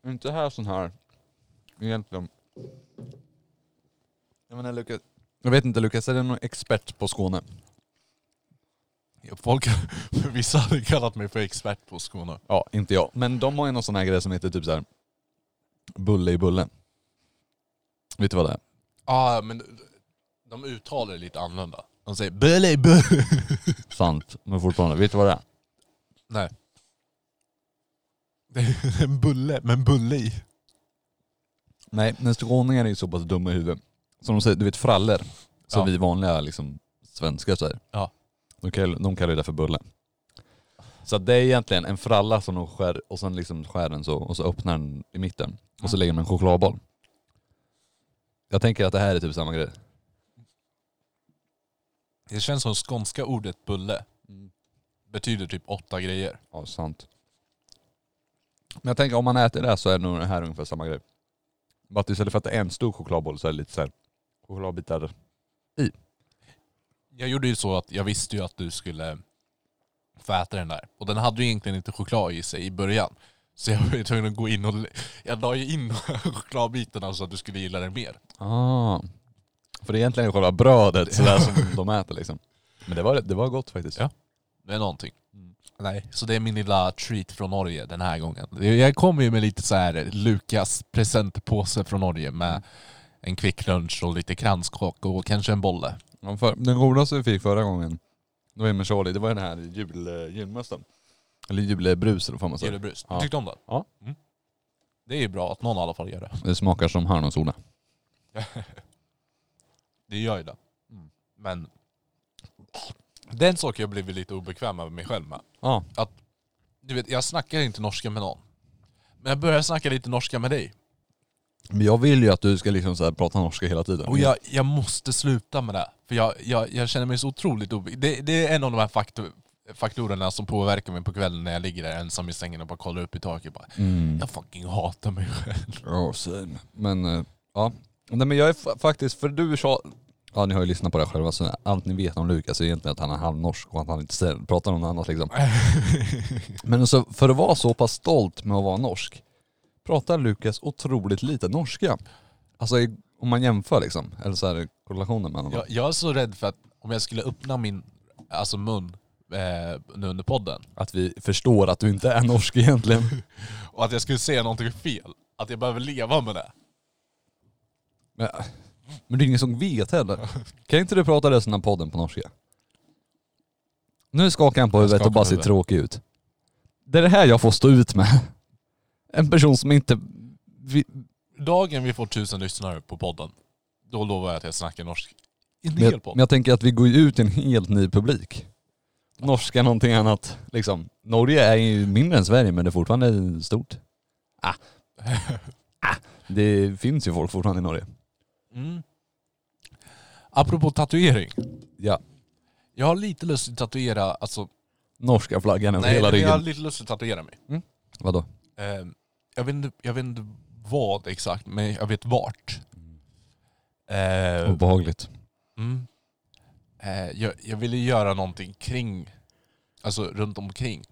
Speaker 1: Inte här sån här. Egentligen. Jag menar Lukas. Jag vet inte Lukas, är du någon expert på Skåne?
Speaker 2: Folk, vissa hade kallat mig för expert på Skåne.
Speaker 1: Ja, inte jag. Men de har ju någon sån här grej som heter typ så här. Bulle i bulle. Vet du vad det är?
Speaker 2: Ja, men de uttalar det lite annorlunda. De säger bulle bulle.
Speaker 1: Sant, men fortfarande. Vet du vad det är?
Speaker 2: Nej. Det är en bulle, men bulle i.
Speaker 1: Nej, men skåningar är ju så pass dumma i huvudet. Som de säger, du vet frallor. Som
Speaker 2: Ja.
Speaker 1: vi vanliga liksom, svenskar säger.
Speaker 2: Ja.
Speaker 1: De kallar, de kallar ju det för bulle. Så att det är egentligen en fralla som de skär och sen liksom skär den så och så öppnar den i mitten. Och så lägger man en chokladboll. Jag tänker att det här är typ samma grej.
Speaker 2: Det känns som skånska ordet bulle
Speaker 1: Mm.
Speaker 2: betyder typ åtta grejer.
Speaker 1: Ja, sant. Men jag tänker om man äter det här så är nog det här ungefär samma grej. Bara att istället för att det är en stor chokladboll så är det lite så här chokladbitar.
Speaker 2: Jag gjorde ju så att jag visste ju att du skulle få äta den där. Och den hade ju egentligen inte choklad i sig i början. Så jag var ju tvungen att gå in och... Jag la ju in chokladbitarna så att du skulle gilla den mer.
Speaker 1: Ah. För det är egentligen själva brödet sådär som de äter liksom. Men det var, det var gott faktiskt.
Speaker 2: Ja. Det är någonting. Mm. Nej. Så det är min lilla treat från Norge den här gången. Jag kommer ju med lite så här Lukas presentpåse från Norge med en kvicklunch och lite kranskaka och kanske en bolle. Alltså,
Speaker 1: Ja, för, den godaste vi fick förra gången, det var ju med Charlie, det var den här jul, eh, julmössan. Eller julbrus eller vad fan
Speaker 2: Ger
Speaker 1: man
Speaker 2: det
Speaker 1: säger.
Speaker 2: brus?
Speaker 1: Ja.
Speaker 2: Tyckte du om den?
Speaker 1: Ja.
Speaker 2: Mm. Det är ju bra att någon i alla fall gör det.
Speaker 1: Det smakar som hallonsoda.
Speaker 2: Det gör ju det. Men det är en sak Mm. jag blivit lite obekväm med mig själv med.
Speaker 1: Ja.
Speaker 2: Du vet, jag snackar inte norska med någon. Men jag börjar snacka lite norska med dig.
Speaker 1: Men jag vill ju att du ska liksom så här prata norska hela tiden.
Speaker 2: Och jag, jag måste sluta med det. För jag, jag, jag känner mig så otroligt obekväm. Det, det är en av de här faktor, faktorerna som påverkar mig på kvällen när jag ligger där ensam i sängen och bara kollar upp i taket. Bara,
Speaker 1: Mm.
Speaker 2: jag fucking hatar mig själv.
Speaker 1: Ja, same. Men eh, ja. Nej men jag är fa- faktiskt, för du sa... Ja ni har ju lyssnat på det här själva så allt ni vet om Lukas är egentligen att han är halvnorsk och att han inte säger- pratar om något annat liksom. Men så, för att vara så pass stolt med att vara norsk, pratar Lukas otroligt lite norska. Alltså i- om man jämför liksom, eller så här korrelationen mellan dem.
Speaker 2: Jag, jag är så rädd för att om jag skulle öppna min alltså mun eh, nu under podden
Speaker 1: Att vi förstår att du inte är norsk egentligen.
Speaker 2: och att jag skulle säga någonting fel. Att jag behöver leva med det.
Speaker 1: Men, men det är ingen som vet heller. Kan inte du prata resten av podden på norska? Nu skakar han på huvudet
Speaker 2: skakar
Speaker 1: och bara
Speaker 2: på
Speaker 1: ser
Speaker 2: huvudet.
Speaker 1: tråkig ut. Det är det här jag får stå ut med. En person som inte... Vi,
Speaker 2: Dagen vi får tusen lyssnare på podden, då lovar jag att jag snackar norsk. I en
Speaker 1: men,
Speaker 2: hel
Speaker 1: jag, men
Speaker 2: podd.
Speaker 1: jag tänker att vi går ju ut till en helt ny publik. Norska någonting annat. Liksom. Norge är ju mindre än Sverige men det är fortfarande stort. Ah. ah. Det finns ju folk fortfarande i Norge.
Speaker 2: Mm. Apropå tatuering.
Speaker 1: Ja.
Speaker 2: Jag har lite lust att tatuera, alltså...
Speaker 1: Norska flaggan över
Speaker 2: Nej,
Speaker 1: hela
Speaker 2: jag
Speaker 1: ryggen.
Speaker 2: har lite lust att tatuera mig.
Speaker 1: Vadå?
Speaker 2: Eh, jag, vet inte, jag vet inte vad exakt, men jag vet vart. Eh,
Speaker 1: Obehagligt.
Speaker 2: Mm. Eh, jag, jag ville göra någonting kring, alltså runt omkring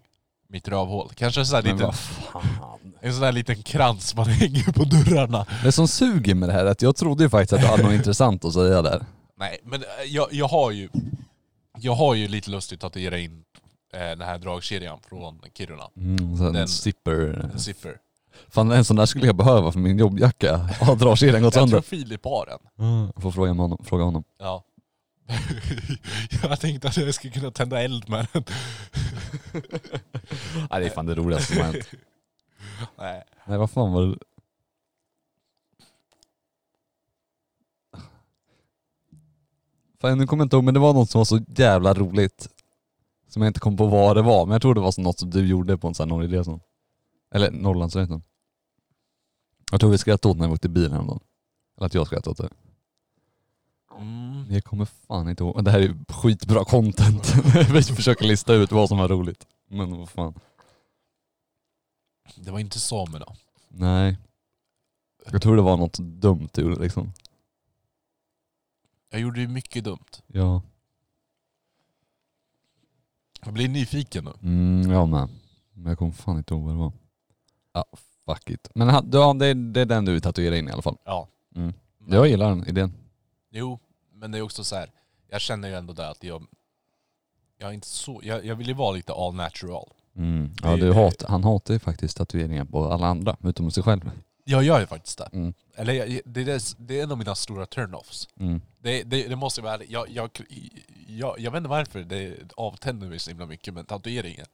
Speaker 2: mitt rövhål. Kanske så här
Speaker 1: Men
Speaker 2: liten,
Speaker 1: vad fan.
Speaker 2: en sån här liten krans man hänger på dörrarna.
Speaker 1: Det som suger med det här är att jag trodde ju faktiskt att du hade något intressant att säga där.
Speaker 2: Nej, men eh, jag, jag har ju jag har ju lite lustigt att tatuera in eh, den här dragkedjan från Kiruna.
Speaker 1: Mm, så en
Speaker 2: Den-
Speaker 1: zipper.
Speaker 2: En siffer.
Speaker 1: Fan en sån där skulle jag behöva för min jobbjacka. Ja, drar sig den gått
Speaker 2: Jag tror
Speaker 1: sönder.
Speaker 2: Filip har en.
Speaker 1: Jag får fråga honom. Fråga honom.
Speaker 2: Ja. jag tänkte att jag skulle kunna tända eld med den.
Speaker 1: Nej det är fan det roligaste som har hänt.
Speaker 2: Nej.
Speaker 1: Nej vad fan var det? Fan nu kommer jag inte ihåg men det var något som var så jävla roligt. Som jag inte kom på vad det var men jag tror det var så något som du gjorde på en sån här Norgeresa. Eller Norrlandsresan. Jag tror vi skrattade åt när vi åkte bil häromdagen. Eller att jag skrattade åt det.
Speaker 2: Mm.
Speaker 1: Jag kommer fan inte ihåg. Det här är ju skitbra content. vi försöker lista ut vad som var roligt. Men vad fan.
Speaker 2: Det var inte samerna.
Speaker 1: Nej. Jag tror det var något dumt du gjorde liksom.
Speaker 2: Jag gjorde ju mycket dumt.
Speaker 1: Ja.
Speaker 2: Jag blir nyfiken nu.
Speaker 1: Mm, jag med. Men jag kommer fan inte ihåg vad det var. Ja, fuck it. Men ha- ja, det, det är den du tatuerar in i alla fall.
Speaker 2: Ja.
Speaker 1: Mm.
Speaker 2: Men-
Speaker 1: Jag gillar den idén.
Speaker 2: Jo, men det är också så här. Jag känner ju ändå det att jag... Jag, är inte så, jag, jag vill ju vara lite all natural.
Speaker 1: Mm. Ja,
Speaker 2: Det-
Speaker 1: du
Speaker 2: det-
Speaker 1: hat, han hatar ju faktiskt tatueringar på alla andra, utom sig själv.
Speaker 2: Jag gör ju faktiskt det.
Speaker 1: Mm.
Speaker 2: Eller jag, det, är, det- det är en av mina stora turn-offs.
Speaker 1: Mm.
Speaker 2: Det, det, det måste jag vara ärlig. jag, jag, jag, jag vet inte varför det avtänder mig så himla mycket men tatueringen.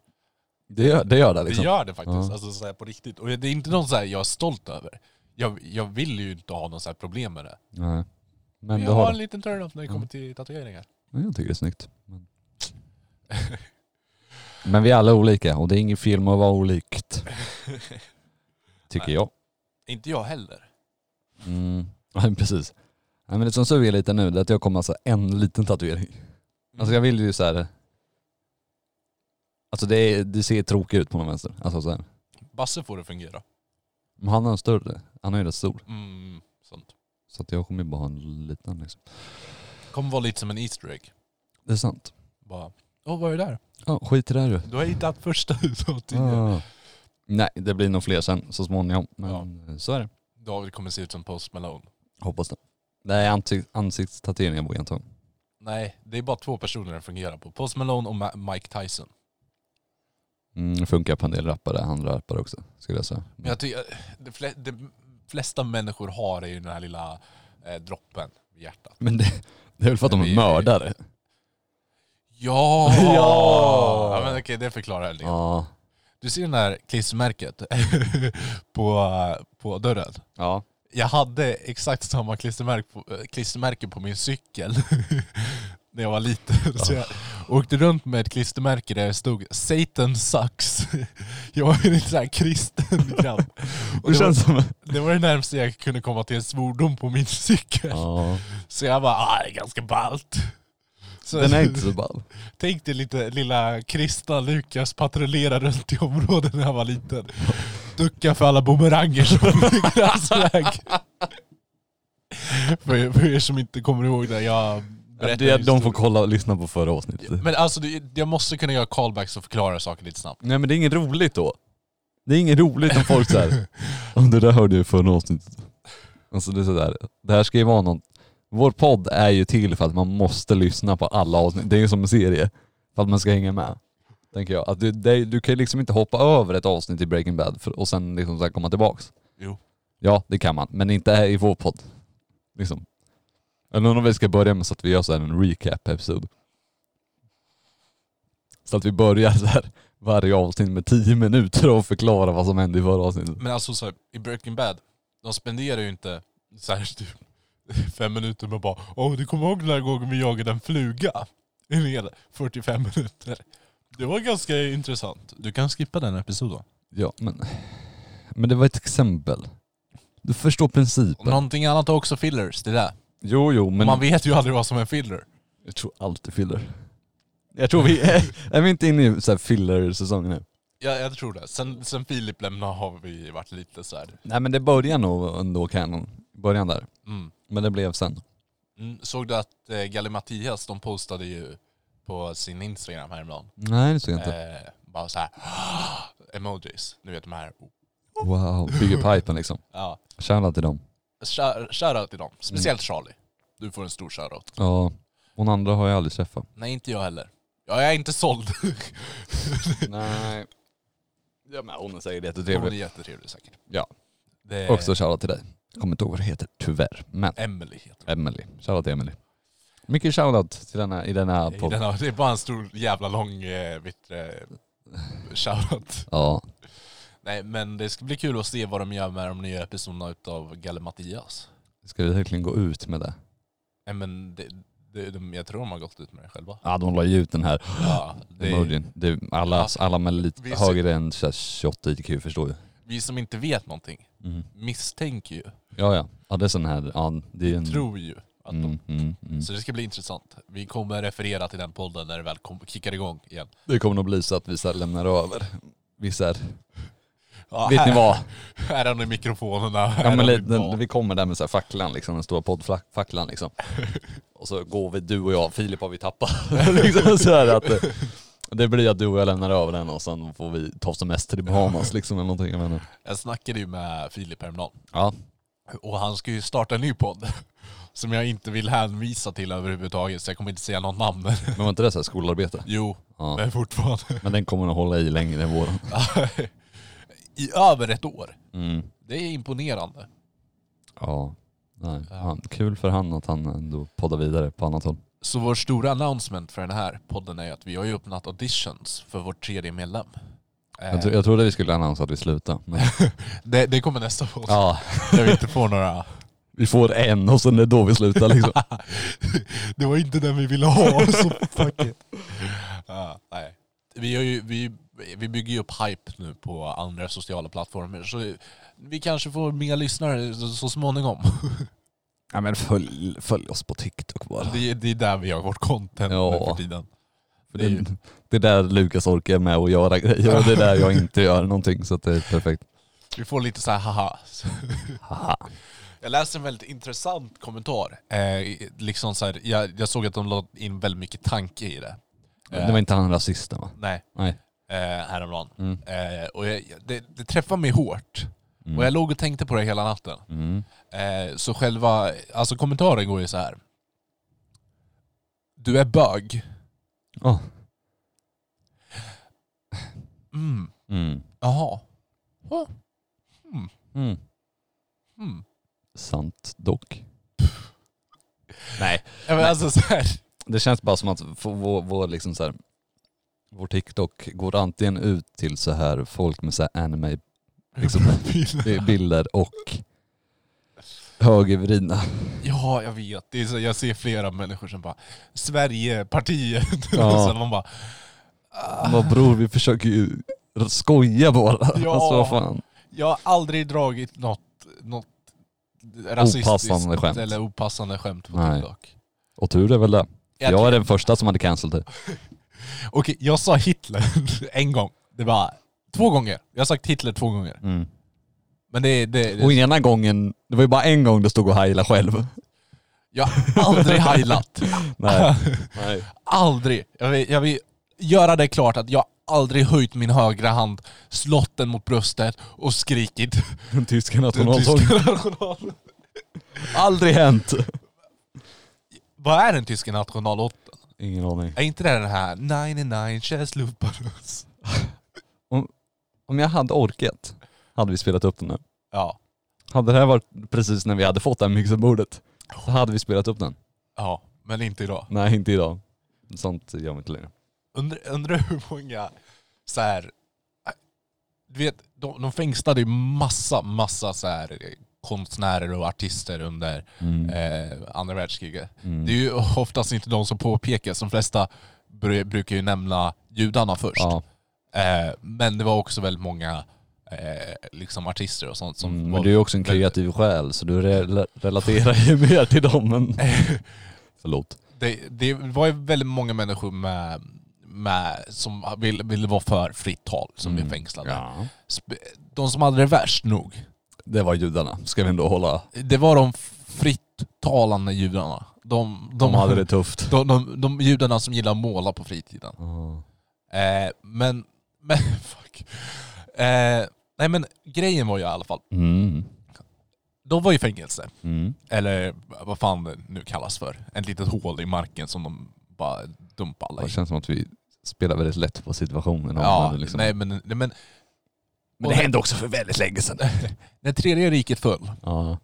Speaker 1: Det, gör, det gör det
Speaker 2: Det
Speaker 1: liksom.
Speaker 2: gör det faktiskt.
Speaker 1: Ja.
Speaker 2: Alltså så här på riktigt. Och det är inte någon så här jag är stolt över. Jag, jag vill ju inte ha någon så här problem med det.
Speaker 1: Nej. Men
Speaker 2: Men
Speaker 1: du Mm.
Speaker 2: jag har
Speaker 1: har
Speaker 2: en
Speaker 1: det.
Speaker 2: liten turn-off när det
Speaker 1: Ja.
Speaker 2: kommer till tatueringar.
Speaker 1: Men jag tycker det är snyggt. Men... Men vi är alla olika och det är ingen fel med att vara olikt. Tycker
Speaker 2: Nej.
Speaker 1: jag.
Speaker 2: inte jag heller.
Speaker 1: Mm. Ja, precis. Nej, men det som suger lite nu det är att jag kommer alltså en liten tatuering. Alltså
Speaker 2: Mm.
Speaker 1: jag vill ju så här. Alltså det, är, det ser tråkigt ut på någon vänster. Alltså så här.
Speaker 2: Basse får det fungera.
Speaker 1: Men han har en större. Han är ju rätt stor.
Speaker 2: Mm, sånt.
Speaker 1: Så att jag kommer ju bara ha en liten liksom.
Speaker 2: Kommer vara lite som en Easter egg.
Speaker 1: Det är sant.
Speaker 2: Bara, åh vad är det där?
Speaker 1: Ja, skit i det här du.
Speaker 2: Du har hittat första utav tidigare.
Speaker 1: Ah. Nej, det blir nog fler sen så småningom. Men eh, så är det.
Speaker 2: David kommer se ut som Post Malone.
Speaker 1: Hoppas det. Nej, ansikt, ansiktstatueringar vågar jag inte ha.
Speaker 2: Nej, det är bara två personer den fungerar på. Post Malone och Ma- Mike Tyson.
Speaker 1: Mm, det funkar på en del rappare, andra rappare också skulle jag säga.
Speaker 2: Men jag eh, tycker, de, fle- de flesta människor har är ju den här lilla eh, droppen i hjärtat.
Speaker 1: Men det, det är väl för att de
Speaker 2: Men
Speaker 1: är
Speaker 2: det är ju-
Speaker 1: mördare?
Speaker 2: Ja!
Speaker 1: Ja!
Speaker 2: men okej, det förklarar jag lite.
Speaker 1: Ja.
Speaker 2: Du ser den här klistermärket på, på dörren?
Speaker 1: Ja.
Speaker 2: Jag hade exakt samma klistermärke på, eh, klistermärke på min cykel när jag var liten. Så jag åkte runt med ett klistermärke där det stod Satan sucks. Jag var ju lite såhär kristen grabb. Och
Speaker 1: Det
Speaker 2: det, var,
Speaker 1: känns som...
Speaker 2: det var det närmaste jag kunde komma till en svordom på min cykel.
Speaker 1: Ja.
Speaker 2: Så jag bara, ah, det är ganska ballt. Så
Speaker 1: Den är inte så ball.
Speaker 2: Tänk dig lite lilla kristna Lukas patrullera runt i området när han var liten. Ducka för alla bumeranger som bygger hans väg. För, er- för er som inte kommer ihåg det, jag berättar
Speaker 1: Det, de
Speaker 2: historien.
Speaker 1: får kolla och lyssna på förra avsnittet.
Speaker 2: Men alltså det- jag måste kunna göra callbacks och förklara saker lite snabbt.
Speaker 1: Nej men det är inget roligt då. Det är inget roligt om folk såhär, det där hörde jag i förra avsnittet. Alltså det är sådär, det här ska ju vara något, vår podd är ju till för att man måste lyssna på alla avsnitt, det är ju som en serie. För att man ska hänga med. Tänker jag. Att du, det, du kan ju liksom inte hoppa över ett avsnitt i Breaking Bad för, och sen liksom så här komma tillbaks.
Speaker 2: Jo.
Speaker 1: Ja det kan man, men inte här i vår podd. Liksom. Jag undrar om vi ska börja med så att vi gör så här en recap-episod. Så att vi börjar så här varje avsnitt med 10 minuter och förklara vad som hände i förra avsnittet.
Speaker 2: Men alltså så här, i Breaking Bad, de spenderar ju inte särskilt typ fem minuter med att bara Åh du kommer ihåg den där gången vi jagade en fluga? En hel 45 minuter. Det var ganska intressant. Du kan skippa den episoden.
Speaker 1: Ja men... Men det var ett exempel. Du förstår principen.
Speaker 2: Någonting annat är också fillers, det där.
Speaker 1: Jo jo men...
Speaker 2: Man vet ju aldrig vad som är filler.
Speaker 1: Jag tror alltid filler. Jag tror vi... är vi inte inne i så här filler-säsongen nu?
Speaker 2: Ja, jag tror det. Sen, sen Filip lämnade har vi varit lite så här.
Speaker 1: Nej men det började nog ändå kanon. Början där.
Speaker 2: Mm.
Speaker 1: Men det blev sen.
Speaker 2: Mm. Såg du att eh, Gallimatias, de postade ju på sin Instagram häromdagen
Speaker 1: Nej det såg jag inte.
Speaker 2: eh, Bara så här emojis. Nu vet de här.
Speaker 1: Wow, bygger pipen liksom.
Speaker 2: Ja.
Speaker 1: Shoutout till dem.
Speaker 2: Shout- Shoutout till dem.
Speaker 1: Mm.
Speaker 2: Speciellt Charlie. Du får en stor shoutout.
Speaker 1: Ja, hon andra har jag aldrig träffat.
Speaker 2: Nej, inte jag heller. Jag är inte såld.
Speaker 1: Nej. Ja men hon säger det
Speaker 2: Hon är
Speaker 1: jättetrevlig.
Speaker 2: jättetrevlig säkert.
Speaker 1: Ja.
Speaker 2: Det är
Speaker 1: Också shoutout till dig. Kommer inte ihåg vad det heter tyvärr, men
Speaker 2: Emily heter
Speaker 1: Emily. Shoutout till Emily. Mycket shoutout till denna, i denna
Speaker 2: hon. I
Speaker 1: podd.
Speaker 2: den här- Det är bara en stor jävla lång eh, vitt, eh, shoutout.
Speaker 1: Ja,
Speaker 2: Nej men det ska bli kul att se vad de gör med de nya episoderna utav Galle Mattias.
Speaker 1: ska vi verkligen gå ut med det?
Speaker 2: Nej men det, det, de, jag tror de har gått ut med det själva.
Speaker 1: Ja, de la ju ut den här
Speaker 2: Ja, det,
Speaker 1: emojin. Det, Alltså, alla, alla med
Speaker 2: Vi
Speaker 1: lite
Speaker 2: ser-
Speaker 1: högre än så här 28 IQ förstår ju.
Speaker 2: vi som inte vet någonting
Speaker 1: Mm.
Speaker 2: misstänker ju,
Speaker 1: Ja, ja. Ja, det är sån här, ja, det är en...
Speaker 2: tror ju att de
Speaker 1: Mm, mm, mm.
Speaker 2: Så det ska bli intressant. Vi kommer referera till den podden när det väl kom, kickar igång igen.
Speaker 1: Det kommer nog bli så att vi så här lämnar över. Vi så här,
Speaker 2: Ja,
Speaker 1: vet ni
Speaker 2: här-
Speaker 1: vad?
Speaker 2: Här har ni mikrofonerna.
Speaker 1: Ja,
Speaker 2: här
Speaker 1: men
Speaker 2: har ni
Speaker 1: lite- den,
Speaker 2: vad.
Speaker 1: vi kommer där med så här facklan, liksom, den stora poddfacklan liksom. Och så går vi, du och jag, Filip har vi tappat. liksom så här att, eh, det blir att du och jag lämnar över den och sen får vi ta semester i Bahamas liksom eller någonting. Jag vet inte.
Speaker 2: Jag snackade ju med Filip häromdagen.
Speaker 1: Ja,
Speaker 2: Och han ska ju starta en ny podd. Som jag inte vill hänvisa till överhuvudtaget, så jag kommer inte säga något namn.
Speaker 1: men var inte det så här skolarbete?
Speaker 2: Jo,
Speaker 1: Ja.
Speaker 2: men fortfarande.
Speaker 1: Men den kommer nog hålla i längre än våran.
Speaker 2: I över ett år.
Speaker 1: Mm.
Speaker 2: Det är imponerande.
Speaker 1: Ja. Nej, han, kul för han att han ändå poddar vidare på annat håll.
Speaker 2: Så vår stora announcement för den här podden är ju att vi har ju öppnat auditions för vår tredje medlem. Eh,
Speaker 1: Jag, tro, jag trodde vi skulle annonsera att vi slutar. Men,
Speaker 2: det, det kommer nästa podd.
Speaker 1: ja,
Speaker 2: Där vi inte får några
Speaker 1: vi får en och sen är det då vi slutar liksom.
Speaker 2: Det var inte den vi ville ha, så fuck it. Ja, nej. Vi, har ju, vi, vi bygger ju upp hype nu på andra sociala plattformar, så vi kanske får mer lyssnare så, så småningom.
Speaker 1: Ja men följ, följ oss på TikTok bara.
Speaker 2: Det, är- det är där vi gör vårt content
Speaker 1: Ja.
Speaker 2: nu för tiden.
Speaker 1: För
Speaker 2: Det är ju-
Speaker 1: det, det är där Lukas orkar med att göra grejer och det är där jag inte gör någonting så att det är perfekt.
Speaker 2: Vi får lite så här haha. Jag läste en väldigt intressant kommentar. Eh, liksom så här, jag, jag såg att de la in väldigt mycket tanke i det. Eh,
Speaker 1: Det var inte han rasisten va?
Speaker 2: Nej,
Speaker 1: Nej.
Speaker 2: eh, häromdagen.
Speaker 1: Mm.
Speaker 2: Eh, och jag, jag- det, det träffade mig hårt. Och jag låg och tänkte på det hela natten.
Speaker 1: Mm.
Speaker 2: Eh, så själva, alltså kommentaren går ju så här. Du är bög.
Speaker 1: Ja.
Speaker 2: Mm,
Speaker 1: Mm.
Speaker 2: jaha.
Speaker 1: Mm.
Speaker 2: Mm.
Speaker 1: Sant dock. Nej.
Speaker 2: Ja, men alltså så här.
Speaker 1: Det känns bara som att f- vår, vår, liksom så här, vår TikTok går antingen ut till så här folk med så här anime-bilder Liksom. och högervridna.
Speaker 2: Ja, jag vet. Det är så, jag ser flera människor som bara, Sverigepartiet.
Speaker 1: Ja.
Speaker 2: och så man bara,
Speaker 1: Vad bror, vi försöker ju skoja bara.
Speaker 2: Ja.
Speaker 1: Alltså vad fan.
Speaker 2: jag har aldrig dragit något, något rasistiskt
Speaker 1: Opassande skämt.
Speaker 2: eller opassande skämt på
Speaker 1: Nej.
Speaker 2: TikTok.
Speaker 1: Och tur är väl det.
Speaker 2: Jag
Speaker 1: Jag är den första som hade cancelled det.
Speaker 2: Okej, jag sa Hitler en gång. Det var två gånger. Jag har sagt Hitler två gånger.
Speaker 1: Mm.
Speaker 2: Men det, det, det
Speaker 1: Och ena gången, det var ju bara en gång du stod och heilade själv.
Speaker 2: Jag har aldrig heilat.
Speaker 1: Nej. Nej.
Speaker 2: Aldrig. Jag vill, jag vill göra det klart att jag aldrig höjt min högra hand, slått den mot bröstet och skrikit
Speaker 1: Den
Speaker 2: den tyska
Speaker 1: tyska nationalsång.
Speaker 2: nationalen.
Speaker 1: Aldrig hänt.
Speaker 2: Vad är den tyska nationallåten?
Speaker 1: Ingen aning.
Speaker 2: Är inte det den här 99 Chess Luparus?
Speaker 1: Om jag hade orkat, hade vi spelat upp den nu.
Speaker 2: Ja.
Speaker 1: Hade det här varit precis när vi hade fått det här mixerbordet, så hade vi spelat upp den.
Speaker 2: Ja, men inte idag.
Speaker 1: Nej, inte idag. Sånt gör vi inte längre.
Speaker 2: Undrar undrar hur många så här. äh, Du vet, de, de fängslade ju massa, massa så här konstnärer och artister under eh, andra världskriget. Det är ju oftast inte de som påpekas. De flesta br- brukar ju nämna judarna först.
Speaker 1: Ja,
Speaker 2: Eh, men det var också väldigt många eh, liksom artister och sånt som
Speaker 1: mm,
Speaker 2: var...
Speaker 1: men du är ju också en kreativ själ så du re- relaterar ju mer till dem än... Förlåt.
Speaker 2: det, det var ju väldigt många människor med, med, som ville vill vara för fritt tal som blev fängslade.
Speaker 1: Mm, Ja.
Speaker 2: Sp- De som hade det värst nog,
Speaker 1: Det var judarna, ska vi ändå hålla.
Speaker 2: det var de fritt talande judarna. De, de,
Speaker 1: De hade det tufft.
Speaker 2: Ah. de, de, de judarna som gillar att måla på fritiden.
Speaker 1: Ja.
Speaker 2: Eh, men Men fuck. Eh, nej men grejen var ju i alla fall,
Speaker 1: Mm.
Speaker 2: de var i fängelse.
Speaker 1: Mm.
Speaker 2: Eller vad fan det nu kallas för. Ett litet hål i marken som de bara dumpar alla
Speaker 1: Det
Speaker 2: i.
Speaker 1: känns som att vi spelar väldigt lätt på situationen. och
Speaker 2: Ja,
Speaker 1: det liksom.
Speaker 2: nej men... Nej, men
Speaker 1: Men det hände också för väldigt länge sedan.
Speaker 2: när tredje riket föll
Speaker 1: Ja.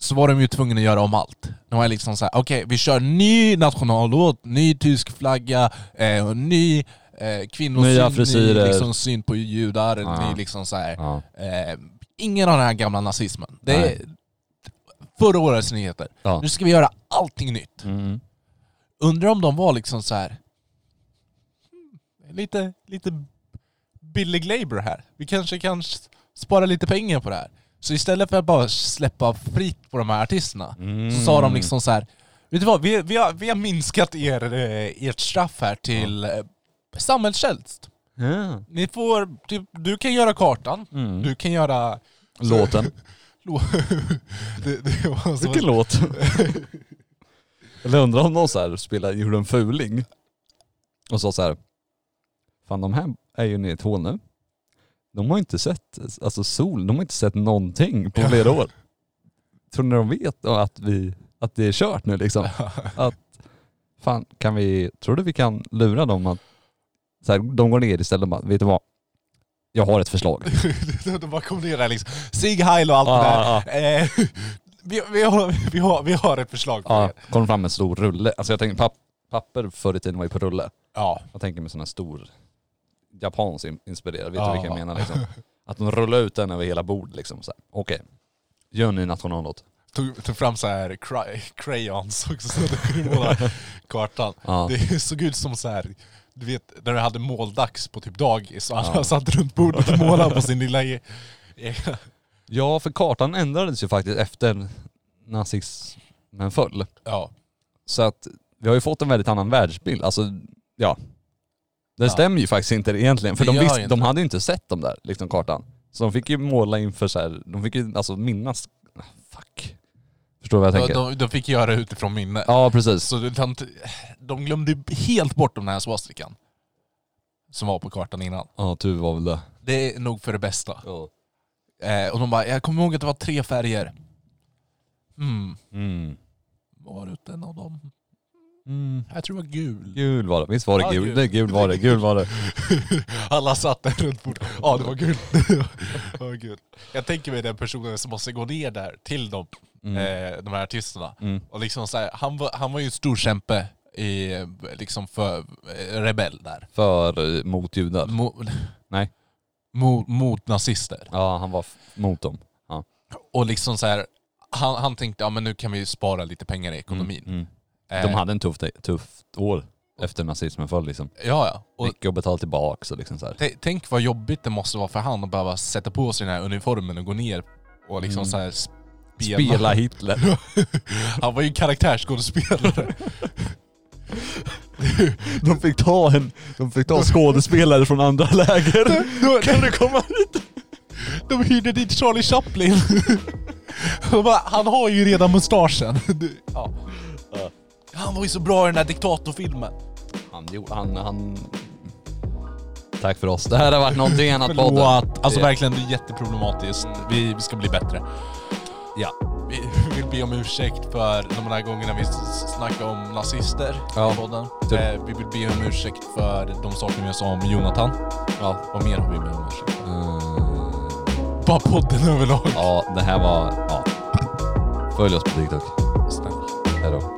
Speaker 2: så var de ju tvungna att göra om allt. De var liksom såhär, okej vi kör ny nationallåt, ny tysk flagga, eh, och ny eh,
Speaker 1: Nya
Speaker 2: kvinnosyn, ny
Speaker 1: frisyrer. Ah.
Speaker 2: liksom, syn på judar,
Speaker 1: Ja.
Speaker 2: ny liksom så här,
Speaker 1: Ja.
Speaker 2: eh, Ingen av den här gamla nazismen. Det är
Speaker 1: Nej.
Speaker 2: förra årets nyheter.
Speaker 1: Ja.
Speaker 2: Nu ska vi göra allting nytt.
Speaker 1: Mm.
Speaker 2: Undrar om de var liksom så här. "Hmm, Lite, lite billig labor här. Vi kanske kan s- spara lite pengar på det här. Så istället för att bara släppa fritt på de här artisterna så sa de liksom så här. Vet du vad? Vi, vi, har, vi har minskat er, eh, ert straff här till eh, samhällstjänst.
Speaker 1: Ja.
Speaker 2: Ni får, typ, du kan göra kartan,
Speaker 1: Mm.
Speaker 2: du kan göra...
Speaker 1: Låten.
Speaker 2: Lå- det, det var så...
Speaker 1: Vilken låt? Eller undrar om någon så här spelade, gjorde en fuling och sa så här. Fan de här är ju nere i ett hål nu. De har inte sett alltså sol, de har inte sett någonting på flera år. Tror ni de vet då att, vi, att det är kört nu liksom? Att, fan, kan vi, tror du vi kan lura dem att så här, de går ner istället och bara, vet du vad? Jag har ett förslag.
Speaker 2: De bara kom ner där liksom. Sig Heil och allt det där.
Speaker 1: Ah,
Speaker 2: Eh, vi, vi, har, vi, har, vi har ett förslag på
Speaker 1: Ja,
Speaker 2: det.
Speaker 1: kom fram med en stor rulle. Alltså jag tänker papp, papper förr i tiden var ju på rulle.
Speaker 2: Ja.
Speaker 1: Jag tänker med sån här stor japansk in- inspirerad, vet
Speaker 2: Ja.
Speaker 1: du vilka jag menar liksom? Att de rullar ut den över hela bordet liksom. så här. Okej, gör ni nationallåt?
Speaker 2: Tog, tog fram så här cray, crayons också så att du kunde måla kartan.
Speaker 1: Ja.
Speaker 2: Det såg ut som så här, du vet när du hade måldags på typ dagis och alla satt runt bordet och målade på sin lilla... e- egna-
Speaker 1: Ja, för kartan ändrades ju faktiskt efter nazismen föll.
Speaker 2: Ja.
Speaker 1: Så att vi har ju fått en väldigt annan världsbild. Alltså, ja. Det
Speaker 2: Ja.
Speaker 1: stämmer ju faktiskt inte egentligen. För
Speaker 2: Det
Speaker 1: de,
Speaker 2: gör
Speaker 1: visste,
Speaker 2: ju
Speaker 1: de
Speaker 2: inte.
Speaker 1: hade ju inte sett dem där, liksom kartan. Så de fick ju måla inför så här, de fick ju alltså minnas... Ah, Fuck. Förstår du vad jag
Speaker 2: De,
Speaker 1: tänker?
Speaker 2: de, de fick göra det utifrån minne.
Speaker 1: Ja, precis.
Speaker 2: Så de, de, de glömde ju helt bort den här swastikan. Som var på kartan innan.
Speaker 1: Ja, tur var väl det.
Speaker 2: Det är nog för det bästa.
Speaker 1: Ja.
Speaker 2: Eh, och de bara, jag kommer ihåg att det var tre färger. Mm,
Speaker 1: Mm.
Speaker 2: var det en av dem?
Speaker 1: Mm.
Speaker 2: Jag tror det var gul.
Speaker 1: Gul var det. Visst var
Speaker 2: Ja,
Speaker 1: det gul?
Speaker 2: gul.
Speaker 1: Det är gul var det. Gul var det.
Speaker 2: Alla satt där runt bordet. Ja, det var gul. det var gul. Jag tänker mig den personen som måste gå ner där till dem, eh, de här artisterna.
Speaker 1: Mm.
Speaker 2: Och liksom så här, han, var, han var ju en stor kämpe i, eh, liksom för eh, rebell där.
Speaker 1: För eh, mot judar.
Speaker 2: Mo,
Speaker 1: Nej.
Speaker 2: Mo, mot nazister.
Speaker 1: Ja, han var f- mot dem. Mm. Ja.
Speaker 2: Och liksom så här, han, han tänkte ja men nu kan vi spara lite pengar i ekonomin.
Speaker 1: Mm.
Speaker 2: Eh,
Speaker 1: De hade en tuff, tufft år efter nazismen föll liksom.
Speaker 2: Ja, ja. Och
Speaker 1: Mycket att betala tillbaka och liksom så här.
Speaker 2: t- tänk vad jobbigt det måste vara för han att behöva sätta på sig den här uniformen och gå ner och liksom
Speaker 1: Mm.
Speaker 2: så här spela.
Speaker 1: Spela Hitler.
Speaker 2: Han var ju karaktärsskådespelare.
Speaker 1: De fick ta, en, de fick ta skådespelare från andra läger.
Speaker 2: kan du komma hit? De hyrde dit Charlie Chaplin. De bara, han har ju redan mustaschen. Du- Ja.
Speaker 1: Ja.
Speaker 2: Han var ju så bra i den här diktatorfilmen.
Speaker 1: Han, gjorde- han, han... Tack för oss. Det här har varit någonting annat podden.
Speaker 2: Förlåt. Alltså
Speaker 1: Det-
Speaker 2: verkligen, det är jätteproblematiskt. Vi, vi ska bli bättre.
Speaker 1: Ja.
Speaker 2: Vi vill be om ursäkt för de här gångerna vi s- snackar om nazister
Speaker 1: Ja,
Speaker 2: i podden.
Speaker 1: typ.
Speaker 2: Eh, vi vill be om ursäkt för de saker vi sa om Jonathan.
Speaker 1: Ja.
Speaker 2: Vad mer har vi be om ursäkt för?
Speaker 1: Eh,
Speaker 2: Bara podden överlag.
Speaker 1: ja, det här var... Ja. Följ oss på TikTok.
Speaker 2: Snälla.
Speaker 1: Hej då.